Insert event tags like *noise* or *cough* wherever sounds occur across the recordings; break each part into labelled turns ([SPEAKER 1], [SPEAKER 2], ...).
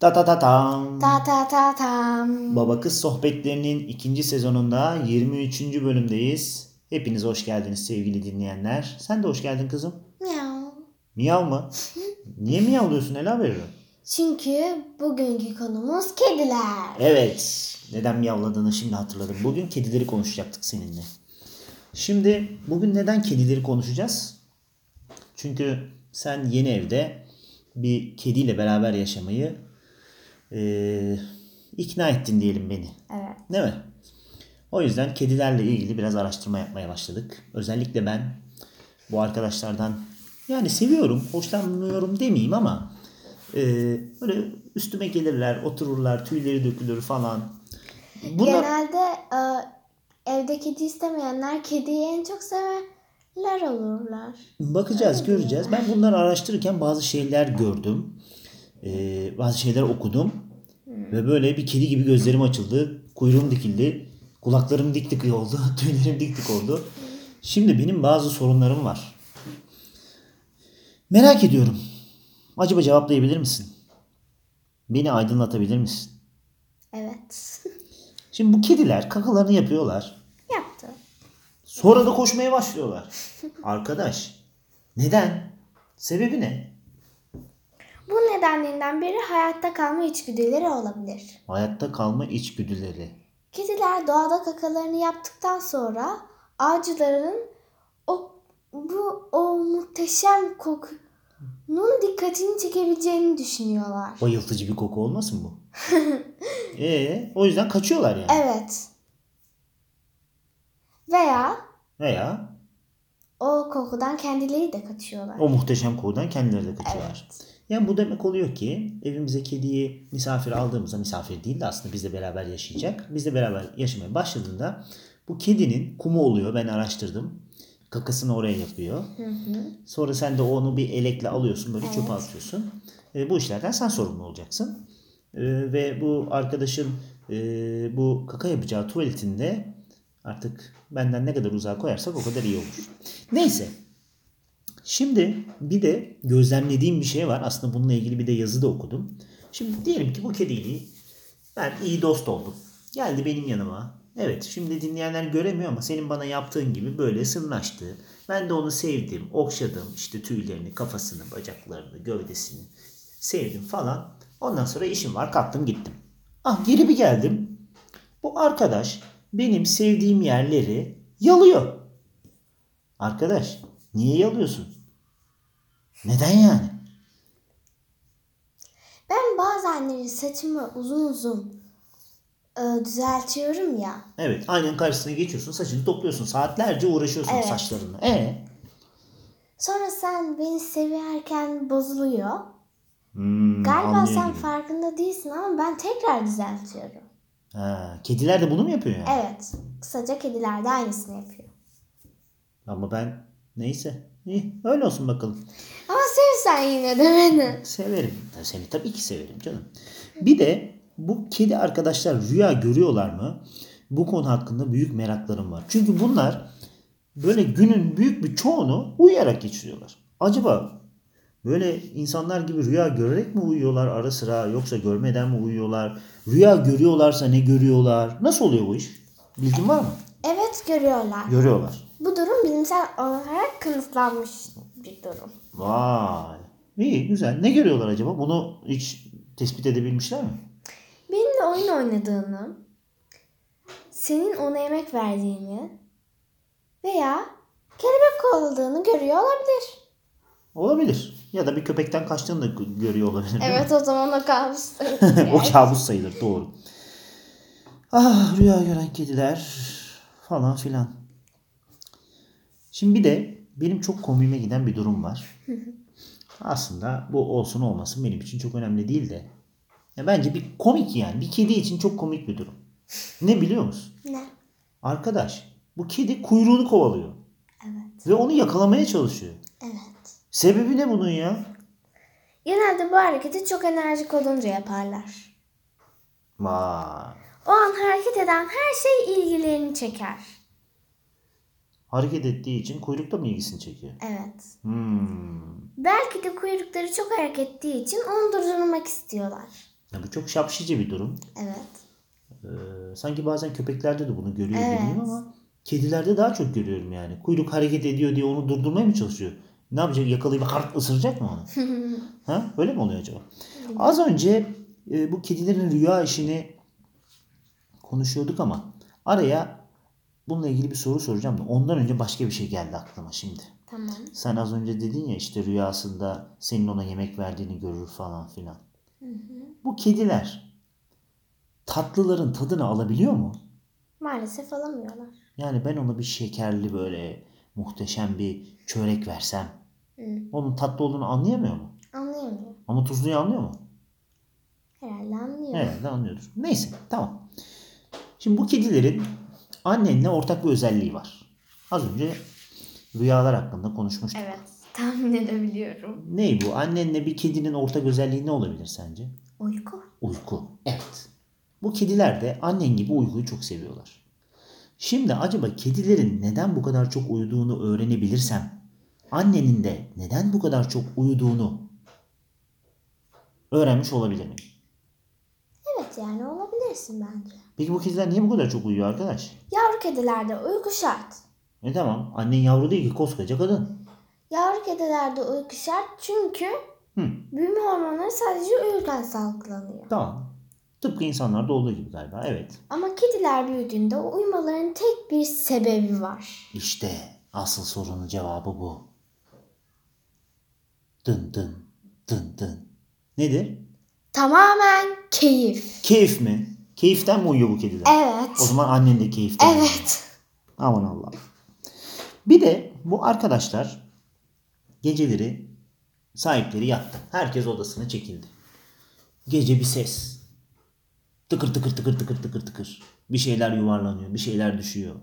[SPEAKER 1] Ta ta ta tam.
[SPEAKER 2] Ta ta ta tam.
[SPEAKER 1] Baba Kız Sohbetlerinin ikinci sezonunda 23. bölümdeyiz. Hepiniz hoş geldiniz sevgili dinleyenler. Sen de hoş geldin kızım.
[SPEAKER 2] Miau.
[SPEAKER 1] Miyav mı? Niye miyavlıyorsun Ela veririm?
[SPEAKER 2] Çünkü bugünkü konumuz kediler.
[SPEAKER 1] Evet. Neden miyavladığını şimdi hatırladım. Bugün kedileri konuşacaktık seninle. Şimdi bugün neden kedileri konuşacağız? Çünkü sen yeni evde bir kediyle beraber yaşamayı eee, ikna ettin diyelim beni.
[SPEAKER 2] Evet.
[SPEAKER 1] Değil mi? O yüzden kedilerle ilgili biraz araştırma yapmaya başladık. Özellikle ben bu arkadaşlardan yani seviyorum, hoşlanmıyorum demeyeyim ama e, böyle üstüme gelirler, otururlar, tüyleri dökülür falan. Bunlar
[SPEAKER 2] Genelde e, evde kedi istemeyenler kediyi en çok severler olurlar.
[SPEAKER 1] bakacağız, göreceğiz. Ben bunları araştırırken bazı şeyler gördüm. E, bazı şeyler okudum. Ve böyle bir kedi gibi gözlerim açıldı. Kuyruğum dikildi. Kulaklarım dik dik oldu. *laughs* Tüylerim dik dik oldu. Şimdi benim bazı sorunlarım var. Merak ediyorum. Acaba cevaplayabilir misin? Beni aydınlatabilir misin?
[SPEAKER 2] Evet. *laughs*
[SPEAKER 1] Şimdi bu kediler kakalarını yapıyorlar.
[SPEAKER 2] Yaptı.
[SPEAKER 1] Sonra da koşmaya başlıyorlar. Arkadaş, neden? Sebebi ne?
[SPEAKER 2] Bu nedenlerinden biri hayatta kalma içgüdüleri olabilir.
[SPEAKER 1] Hayatta kalma içgüdüleri.
[SPEAKER 2] Kediler doğada kakalarını yaptıktan sonra avcıların o bu o muhteşem kokunun dikkatini çekebileceğini düşünüyorlar.
[SPEAKER 1] Bayıltıcı bir koku olmasın bu? Ee, o yüzden kaçıyorlar yani.
[SPEAKER 2] Evet. Veya
[SPEAKER 1] Veya
[SPEAKER 2] o kokudan kendileri de kaçıyorlar.
[SPEAKER 1] O muhteşem kokudan kendileri de kaçıyorlar. Yani bu demek oluyor ki evimize kediyi misafir aldığımızda misafir değil de aslında bizle beraber yaşayacak. Bizle beraber yaşamaya başladığında bu kedinin kumu oluyor ben araştırdım. Kakasını oraya yapıyor.
[SPEAKER 2] Hı hı.
[SPEAKER 1] Sonra sen de onu bir elekle alıyorsun böyle
[SPEAKER 2] Evet.
[SPEAKER 1] çöpe atıyorsun. E, bu işlerden sen sorumlu olacaksın. E, ve bu arkadaşın e, bu kaka yapacağı tuvaletinde artık benden ne kadar uzağa koyarsak o kadar iyi olur. Neyse. Şimdi bir de gözlemlediğim bir şey var. Aslında bununla ilgili bir de yazı da okudum. Şimdi diyelim ki bu kediyle ben iyi dost oldum. Geldi benim yanıma. Evet şimdi dinleyenler göremiyor ama senin bana yaptığın gibi böyle sırnaştı. Ben de onu sevdim, okşadım işte tüylerini, kafasını, bacaklarını, gövdesini sevdim falan. Ondan sonra işim var kalktım gittim. Ah geri bir geldim. Bu arkadaş benim sevdiğim yerleri yalıyor. Arkadaş niye yalıyorsun? Neden yani?
[SPEAKER 2] Ben bazenleri saçımı uzun uzun e, düzeltiyorum ya.
[SPEAKER 1] Evet aynen karşısına geçiyorsun saçını topluyorsun saatlerce uğraşıyorsun
[SPEAKER 2] Evet.
[SPEAKER 1] saçlarına. E
[SPEAKER 2] Sonra sen beni severken bozuluyor.
[SPEAKER 1] Hmm,
[SPEAKER 2] Galiba
[SPEAKER 1] anlıyor
[SPEAKER 2] sen
[SPEAKER 1] gibi.
[SPEAKER 2] farkında değilsin ama ben tekrar düzeltiyorum.
[SPEAKER 1] Ha, kediler de bunu mu yapıyor yani?
[SPEAKER 2] Evet. Kısaca kediler de aynısını yapıyor.
[SPEAKER 1] Ama ben neyse. İyi, öyle olsun bakalım.
[SPEAKER 2] Ama sevsen yine de beni.
[SPEAKER 1] Severim. Ya Seni tabii ki severim canım. Bir de bu kedi arkadaşlar rüya görüyorlar mı? Bu konu hakkında büyük meraklarım var. Çünkü bunlar böyle günün büyük bir çoğunu uyuyarak geçiriyorlar. Acaba böyle insanlar gibi rüya görerek mi uyuyorlar ara sıra yoksa görmeden mi uyuyorlar? Rüya görüyorlarsa ne görüyorlar? Nasıl oluyor bu iş? Bilgin var mı?
[SPEAKER 2] Evet görüyorlar.
[SPEAKER 1] Görüyorlar.
[SPEAKER 2] Bu durum bilimsel olarak kanıtlanmış bir durum.
[SPEAKER 1] Vay. İyi güzel. Ne görüyorlar acaba? Bunu hiç tespit edebilmişler mi?
[SPEAKER 2] Benimle oyun oynadığını, senin ona yemek verdiğini veya kelebek kovaladığını görüyor olabilir.
[SPEAKER 1] Olabilir. Ya da bir köpekten kaçtığını da gö- görüyor olabilir. değil mi?
[SPEAKER 2] Evet o zaman o kabus.
[SPEAKER 1] *laughs* o kabus sayılır doğru. Ah rüya gören kediler falan filan. Şimdi bir de benim çok komiğime giden bir durum var. Aslında bu olsun olmasın benim için çok önemli değil de. Ya bence bir komik yani. Bir kedi için çok komik bir durum. Ne biliyor musun?
[SPEAKER 2] *laughs* ne?
[SPEAKER 1] Arkadaş bu kedi kuyruğunu kovalıyor.
[SPEAKER 2] Evet.
[SPEAKER 1] Ve onu yakalamaya çalışıyor.
[SPEAKER 2] Evet.
[SPEAKER 1] Sebebi ne bunun ya?
[SPEAKER 2] Genelde bu hareketi çok enerjik olunca yaparlar.
[SPEAKER 1] Vay.
[SPEAKER 2] O an hareket eden her şey ilgilerini çeker.
[SPEAKER 1] Hareket ettiği için kuyrukta mı ilgisini çekiyor?
[SPEAKER 2] Evet.
[SPEAKER 1] Hmm.
[SPEAKER 2] Belki de kuyrukları çok hareket ettiği için onu durdurmak istiyorlar.
[SPEAKER 1] Ya bu çok şapşici bir durum.
[SPEAKER 2] Evet.
[SPEAKER 1] Ee, sanki bazen köpeklerde de bunu görüyor
[SPEAKER 2] Evet.
[SPEAKER 1] gibiyim ama kedilerde daha çok görüyorum yani. Kuyruk hareket ediyor diye onu durdurmaya mı çalışıyor? Ne yapacak? Yakalayıp hart ısıracak mı onu? Ha? Öyle mi oluyor acaba? Az önce e, bu kedilerin rüya işini konuşuyorduk ama araya bununla ilgili bir soru soracağım da ondan önce başka bir şey geldi aklıma şimdi.
[SPEAKER 2] *laughs* tamam.
[SPEAKER 1] Sen az önce dedin ya işte rüyasında senin ona yemek verdiğini görür falan filan. Bu kediler tatlıların tadını alabiliyor mu?
[SPEAKER 2] Maalesef alamıyorlar.
[SPEAKER 1] Yani ben ona bir şekerli böyle muhteşem bir çörek versem
[SPEAKER 2] Hı.
[SPEAKER 1] onun tatlı olduğunu anlayamıyor mu?
[SPEAKER 2] Anlayamıyor.
[SPEAKER 1] Ama tuzluyu anlıyor mu?
[SPEAKER 2] Herhalde anlıyor.
[SPEAKER 1] Herhalde anlıyordur. Neyse tamam. Şimdi bu kedilerin annenle ortak bir özelliği var. Az önce rüyalar hakkında konuşmuştuk.
[SPEAKER 2] Evet. Tahmin edebiliyorum.
[SPEAKER 1] Ney bu? Annenle bir kedinin ortak özelliği ne olabilir sence?
[SPEAKER 2] Uyku.
[SPEAKER 1] Uyku. Evet. Bu kediler de annen gibi uykuyu çok seviyorlar. Şimdi acaba kedilerin neden bu kadar çok uyuduğunu öğrenebilirsem, annenin de neden bu kadar çok uyuduğunu öğrenmiş olabilir miyim?
[SPEAKER 2] Evet yani olabilirsin bence.
[SPEAKER 1] Peki bu kediler niye bu kadar çok uyuyor arkadaş?
[SPEAKER 2] Yavru kedilerde uyku şart.
[SPEAKER 1] E tamam annen yavru değil ki koskoca kadın.
[SPEAKER 2] Yavru kedilerde uyku şart çünkü
[SPEAKER 1] Hı.
[SPEAKER 2] büyüme hormonları sadece uyurken salgılanıyor.
[SPEAKER 1] Tamam. Tıpkı insanlarda olduğu gibi galiba. Evet.
[SPEAKER 2] Ama kediler büyüdüğünde uyumaların tek bir sebebi var.
[SPEAKER 1] İşte asıl sorunun cevabı bu. Dın dın dın dın. Nedir?
[SPEAKER 2] Tamamen keyif.
[SPEAKER 1] Keyif mi? Keyiften mi uyuyor bu kediler? O
[SPEAKER 2] Evet.
[SPEAKER 1] zaman annen de keyiften. uyuyor.
[SPEAKER 2] Evet.
[SPEAKER 1] Aman Allah. Bir de bu arkadaşlar geceleri sahipleri yattı. Herkes odasına çekildi. Gece bir ses. Tıkır tıkır tıkır tıkır tıkır tıkır. Bir şeyler yuvarlanıyor, bir şeyler düşüyor.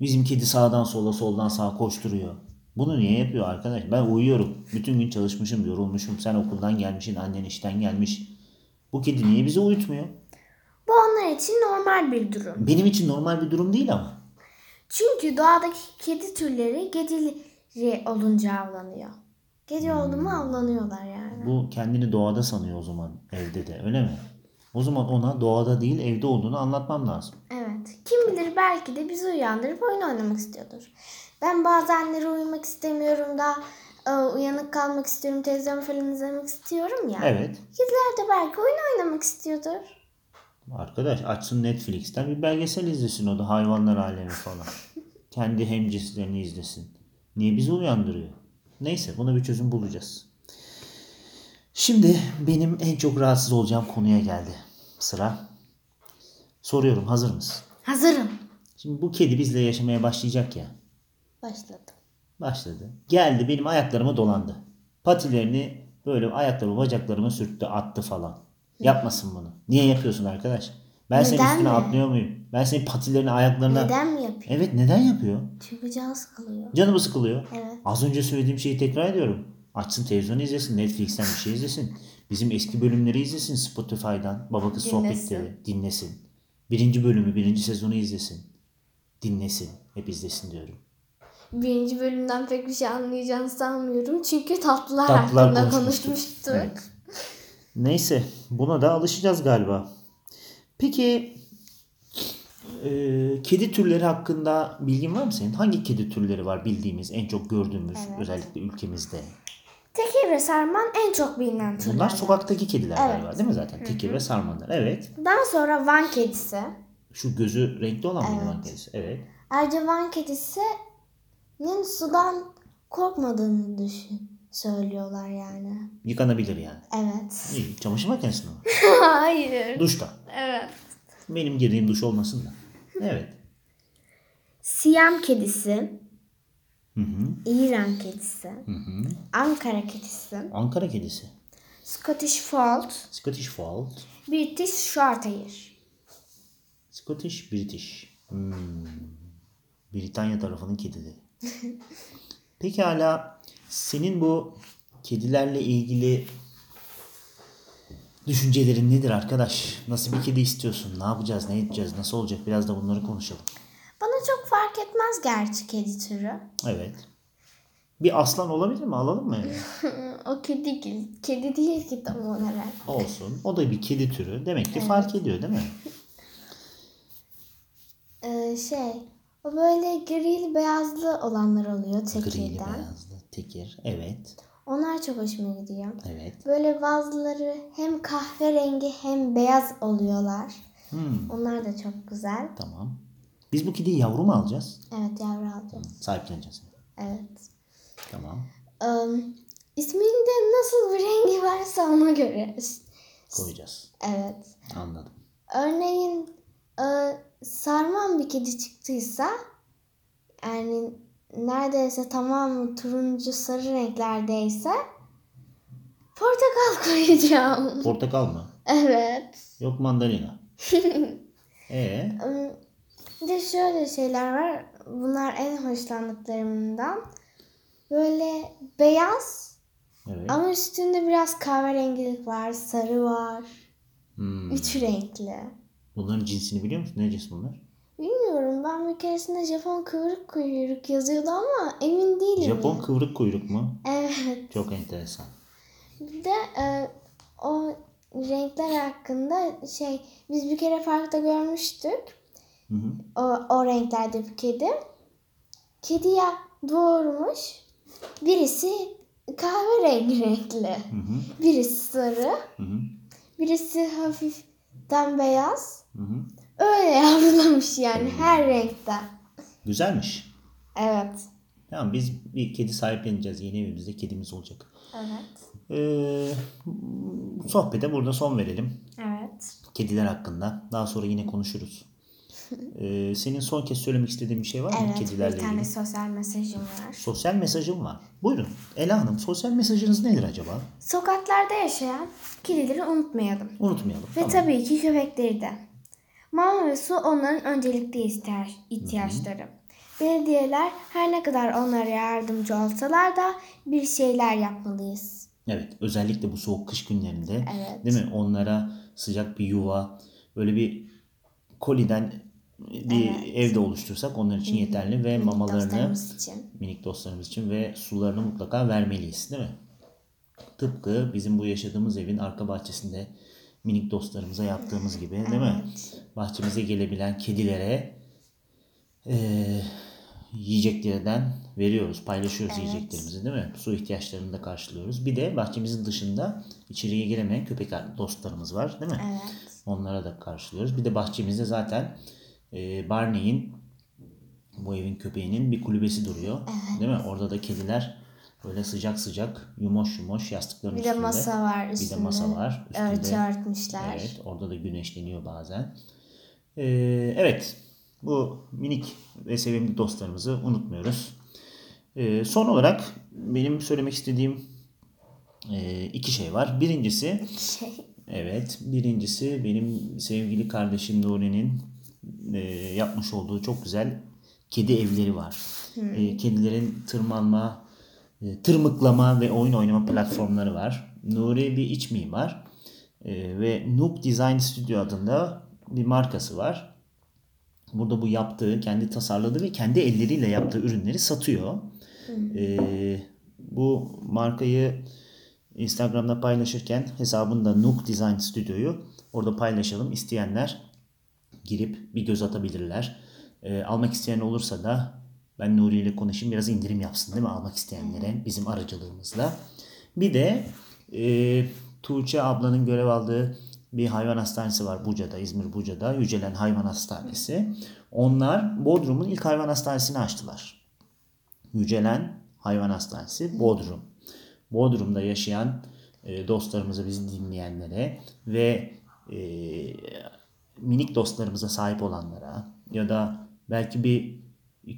[SPEAKER 1] Bizim kedi sağdan sola, soldan sağa koşturuyor. Bunu niye yapıyor arkadaş? Ben uyuyorum. Bütün gün çalışmışım, yorulmuşum. Sen okuldan gelmişsin, annen işten gelmiş. Bu kedi niye bizi uyutmuyor?
[SPEAKER 2] Bu onlar için normal bir durum.
[SPEAKER 1] Benim için normal bir durum değil ama.
[SPEAKER 2] Çünkü doğadaki kedi türleri geceleri olunca avlanıyor. Gece oldu mu avlanıyorlar yani.
[SPEAKER 1] Bu kendini doğada sanıyor o zaman evde de öyle mi? O zaman ona doğada değil evde olduğunu anlatmam lazım.
[SPEAKER 2] Evet. Kim bilir belki de bizi uyandırıp oyun oynamak istiyordur. Ben bazenleri uyumak istemiyorum da e, uyanık kalmak istiyorum, televizyon falan izlemek istiyorum ya.
[SPEAKER 1] Evet.
[SPEAKER 2] Kediler de belki oyun oynamak istiyordur.
[SPEAKER 1] Arkadaş açsın Netflix'ten bir belgesel izlesin o da hayvanlar alemi falan. Kendi hemcinslerini izlesin. Niye bizi uyandırıyor? Neyse buna bir çözüm bulacağız. Şimdi benim en çok rahatsız olacağım konuya geldi sıra. Soruyorum hazır mısın?
[SPEAKER 2] Hazırım.
[SPEAKER 1] Şimdi bu kedi bizle yaşamaya başlayacak ya.
[SPEAKER 2] Başladım.
[SPEAKER 1] Başladı. Geldi benim ayaklarıma dolandı. Patilerini böyle ayaklarımı bacaklarıma sürttü attı falan. Yapmasın bunu. Niye yapıyorsun arkadaş? Ben senin
[SPEAKER 2] Neden
[SPEAKER 1] üstüne
[SPEAKER 2] mi?
[SPEAKER 1] atlıyor muyum? Ben senin patilerini ayaklarına...
[SPEAKER 2] Neden mi yapıyor?
[SPEAKER 1] Evet neden yapıyor?
[SPEAKER 2] Çünkü can sıkılıyor.
[SPEAKER 1] Canımı sıkılıyor.
[SPEAKER 2] Evet.
[SPEAKER 1] Az önce söylediğim şeyi tekrar ediyorum. Açsın televizyonu izlesin. Netflix'ten bir şey izlesin. Bizim eski bölümleri izlesin Spotify'dan. Baba kız
[SPEAKER 2] Dinlesin.
[SPEAKER 1] sohbetleri dinlesin. Birinci bölümü, birinci sezonu izlesin. Dinlesin. Hep izlesin diyorum.
[SPEAKER 2] Birinci bölümden pek bir şey anlayacağını sanmıyorum. Çünkü tatlılar,
[SPEAKER 1] Tatlılar
[SPEAKER 2] hakkında
[SPEAKER 1] konuşmuştuk.
[SPEAKER 2] konuşmuştuk.
[SPEAKER 1] Evet. Neyse buna da alışacağız galiba. Peki e, kedi türleri hakkında bilgin var mı senin? Hangi kedi türleri var bildiğimiz, en çok gördüğümüz
[SPEAKER 2] Evet.
[SPEAKER 1] özellikle ülkemizde?
[SPEAKER 2] Tekir ve sarman en çok bilinen türler.
[SPEAKER 1] Bunlar sokaktaki kediler
[SPEAKER 2] Evet.
[SPEAKER 1] galiba değil mi zaten? Tekir ve sarmanlar. Evet.
[SPEAKER 2] Daha sonra Van kedisi.
[SPEAKER 1] Şu gözü renkli olan mıydı
[SPEAKER 2] Evet.
[SPEAKER 1] lan kedisi? Evet.
[SPEAKER 2] Ayrıca Van kedisinin sudan korkmadığını düşün. Söylüyorlar yani.
[SPEAKER 1] Yıkanabilir yani.
[SPEAKER 2] Evet.
[SPEAKER 1] İyi. Çamaşır makinesinde mi?
[SPEAKER 2] *laughs* Hayır.
[SPEAKER 1] Duşta.
[SPEAKER 2] Evet.
[SPEAKER 1] Benim girdiğim duş olmasın da. Evet.
[SPEAKER 2] Siyam kedisi,
[SPEAKER 1] Hı hı.
[SPEAKER 2] İran kedisi,
[SPEAKER 1] Hı hı.
[SPEAKER 2] Ankara kedisi,
[SPEAKER 1] Ankara kedisi.
[SPEAKER 2] Scottish Fold,
[SPEAKER 1] Scottish Fold.
[SPEAKER 2] British Shorthair.
[SPEAKER 1] Scottish, British. Hmm. Britanya tarafının kedileri. Peki hala senin bu kedilerle ilgili düşüncelerin nedir arkadaş? Nasıl bir kedi istiyorsun? Ne yapacağız? Ne edeceğiz? Nasıl olacak? Biraz da bunları konuşalım.
[SPEAKER 2] Bana çok fark etmez gerçi kedi türü.
[SPEAKER 1] Evet. Bir aslan olabilir mi? Alalım mı? eve?
[SPEAKER 2] *laughs* o kedi ki- kedi değil ki tam olarak.
[SPEAKER 1] Olsun. O da bir kedi türü. Demek ki fark ediyor değil mi?
[SPEAKER 2] Ee, şey o böyle grili beyazlı olanlar oluyor
[SPEAKER 1] Grili
[SPEAKER 2] tekirden.
[SPEAKER 1] beyazlı tekir. Evet.
[SPEAKER 2] Onlar çok hoşuma gidiyor.
[SPEAKER 1] Evet.
[SPEAKER 2] Böyle bazıları hem kahverengi hem beyaz oluyorlar.
[SPEAKER 1] Hmm,
[SPEAKER 2] Onlar da çok güzel.
[SPEAKER 1] tamam. Biz bu kediyi yavru mu alacağız?
[SPEAKER 2] Evet yavru alacağız.
[SPEAKER 1] Sahipleneceğiz.
[SPEAKER 2] Evet.
[SPEAKER 1] Tamam.
[SPEAKER 2] Um, isminde nasıl bir rengi varsa ona göre.
[SPEAKER 1] Koyacağız.
[SPEAKER 2] Evet.
[SPEAKER 1] Anladım.
[SPEAKER 2] Örneğin e, sarman bir kedi çıktıysa yani neredeyse tamamı turuncu sarı renklerdeyse portakal *laughs* koyacağım.
[SPEAKER 1] Portakal mı?
[SPEAKER 2] Evet. *laughs*
[SPEAKER 1] Yok mandalina. Ee,
[SPEAKER 2] Im, Bir de şöyle şeyler var. Bunlar en hoşlandıklarımdan. Böyle beyaz
[SPEAKER 1] evet.
[SPEAKER 2] ama üstünde biraz kahverengilik var, sarı var.
[SPEAKER 1] Hmm.
[SPEAKER 2] Üç renkli.
[SPEAKER 1] Bunların cinsini biliyor musun? Ne cins bunlar?
[SPEAKER 2] Bilmiyorum ben bir keresinde Japon kıvırık kuyruk yazıyordu ama emin değilim.
[SPEAKER 1] Japon
[SPEAKER 2] ya.
[SPEAKER 1] kıvrık kuyruk mu?
[SPEAKER 2] Evet.
[SPEAKER 1] Çok enteresan.
[SPEAKER 2] Bir de e, o renkler hakkında şey biz bir kere parkta görmüştük.
[SPEAKER 1] Hı hı.
[SPEAKER 2] O, o renklerde bir kedi. Kediye doğurmuş. Birisi kahverengi *laughs* renkli.
[SPEAKER 1] Hı hı.
[SPEAKER 2] Birisi sarı.
[SPEAKER 1] Hı hı.
[SPEAKER 2] Birisi hafiften beyaz.
[SPEAKER 1] Hı hı.
[SPEAKER 2] Öyle *laughs* yavrulamış yani her renkten.
[SPEAKER 1] Güzelmiş.
[SPEAKER 2] Evet.
[SPEAKER 1] Tamam biz bir kedi sahipleneceğiz. Yeni evimizde kedimiz olacak.
[SPEAKER 2] Evet.
[SPEAKER 1] Ee, sohbete burada son verelim.
[SPEAKER 2] Evet.
[SPEAKER 1] Kediler hakkında. Daha sonra yine
[SPEAKER 2] *laughs*
[SPEAKER 1] konuşuruz. Ee, senin son kez söylemek istediğin bir şey var mı
[SPEAKER 2] Evet,
[SPEAKER 1] kedilerle
[SPEAKER 2] bir tane
[SPEAKER 1] ilgili?
[SPEAKER 2] sosyal mesajım var.
[SPEAKER 1] Sosyal mesajım var. Buyurun. Ela Hanım sosyal mesajınız nedir acaba?
[SPEAKER 2] Sokaklarda yaşayan kedileri unutmayalım.
[SPEAKER 1] Unutmayalım.
[SPEAKER 2] Ve
[SPEAKER 1] tamam.
[SPEAKER 2] tabii ki köpekleri de. Mama ve su onların öncelikli ihtiyaç, ihtiyaçları. Belediyeler her ne kadar onlara yardımcı olsalar da bir şeyler yapmalıyız.
[SPEAKER 1] Evet, özellikle bu soğuk kış günlerinde
[SPEAKER 2] Evet.
[SPEAKER 1] değil mi? Onlara sıcak bir yuva, böyle bir koliden bir
[SPEAKER 2] Evet.
[SPEAKER 1] evde oluştursak onlar için yeterli ve mamalarını
[SPEAKER 2] Dostlarımız için.
[SPEAKER 1] minik dostlarımız için ve sularını mutlaka vermeliyiz, değil mi? Tıpkı bizim bu yaşadığımız evin arka bahçesinde minik dostlarımıza yaptığımız gibi, değil mi? Bahçemize gelebilen kedilere eee yiyeceklerden veriyoruz, paylaşıyoruz
[SPEAKER 2] Evet.
[SPEAKER 1] yiyeceklerimizi değil mi? Su ihtiyaçlarını da karşılıyoruz. Bir de bahçemizin dışında içeriye giremeyen köpek dostlarımız var değil mi?
[SPEAKER 2] Evet.
[SPEAKER 1] Onlara da karşılıyoruz. Bir de bahçemizde zaten e, Barney'in bu evin köpeğinin bir kulübesi duruyor. Değil mi? Orada da kediler böyle sıcak sıcak yumoş yumoş yastıkların
[SPEAKER 2] Bir de
[SPEAKER 1] üstünde.
[SPEAKER 2] masa var
[SPEAKER 1] Bir
[SPEAKER 2] üstünde.
[SPEAKER 1] de masa var. Üstünde
[SPEAKER 2] Örtü örtmüşler.
[SPEAKER 1] Evet, orada da güneşleniyor bazen. Ee, evet, bu minik ve sevimli dostlarımızı unutmuyoruz. Ee, son olarak benim söylemek istediğim e, iki şey var. Birincisi,
[SPEAKER 2] *laughs* Şey,
[SPEAKER 1] evet, birincisi benim sevgili kardeşim Nuri'nin e, yapmış olduğu çok güzel kedi evleri var. E, kedilerin tırmanma, e, tırmıklama ve oyun oynama platformları var. Nuri bir iç mimar E, ve Nook Design Studio adında bir markası var. Burada bu yaptığı, kendi tasarladığı ve kendi elleriyle yaptığı ürünleri satıyor. E, bu markayı Instagram'da paylaşırken hesabında Nook Design Studio'yu orada paylaşalım. İsteyenler girip bir göz atabilirler. Ee, almak isteyen olursa da ben Nuri ile konuşayım biraz indirim yapsın değil mi almak isteyenlere bizim aracılığımızla. Bir de e, Tuğçe ablanın görev aldığı bir hayvan hastanesi var Buca'da, İzmir Buca'da. Yücelen Hayvan Hastanesi. Onlar Bodrum'un ilk hayvan hastanesini açtılar. Yücelen Hayvan Hastanesi Bodrum. Bodrum'da yaşayan e, dostlarımızı, bizi dinleyenlere ve e, minik dostlarımıza sahip olanlara ya da belki bir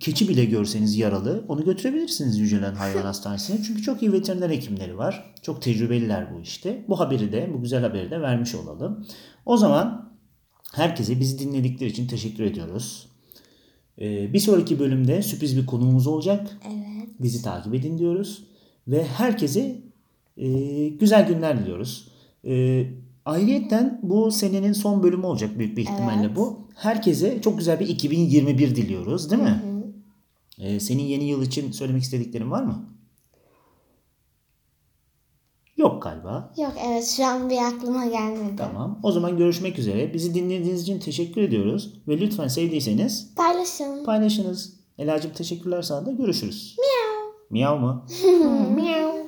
[SPEAKER 1] keçi bile görseniz yaralı onu götürebilirsiniz Yücelen Hayvan Hastanesi'ne. Çünkü çok iyi veteriner hekimleri var. Çok tecrübeliler bu işte. Bu haberi de, bu güzel haberi de vermiş olalım. O zaman herkese bizi dinledikleri için teşekkür ediyoruz. E, bir sonraki bölümde sürpriz bir konuğumuz olacak.
[SPEAKER 2] evet.
[SPEAKER 1] Bizi takip edin diyoruz. Ve herkese e, güzel günler diliyoruz. E, ayrıyeten bu senenin son bölümü olacak büyük bir ihtimalle
[SPEAKER 2] Evet.
[SPEAKER 1] bu. Herkese çok güzel bir 2021 diliyoruz değil mi? E, senin yeni yıl için söylemek istediklerin var mı? Yok galiba.
[SPEAKER 2] Yok evet şu an bir aklıma gelmedi.
[SPEAKER 1] Tamam. O zaman görüşmek üzere. Bizi dinlediğiniz için teşekkür ediyoruz. Ve lütfen sevdiyseniz
[SPEAKER 2] Paylaşın.
[SPEAKER 1] paylaşınız. Elacığım teşekkürler sana da görüşürüz. Miyav. Miyav mı?
[SPEAKER 2] Miau.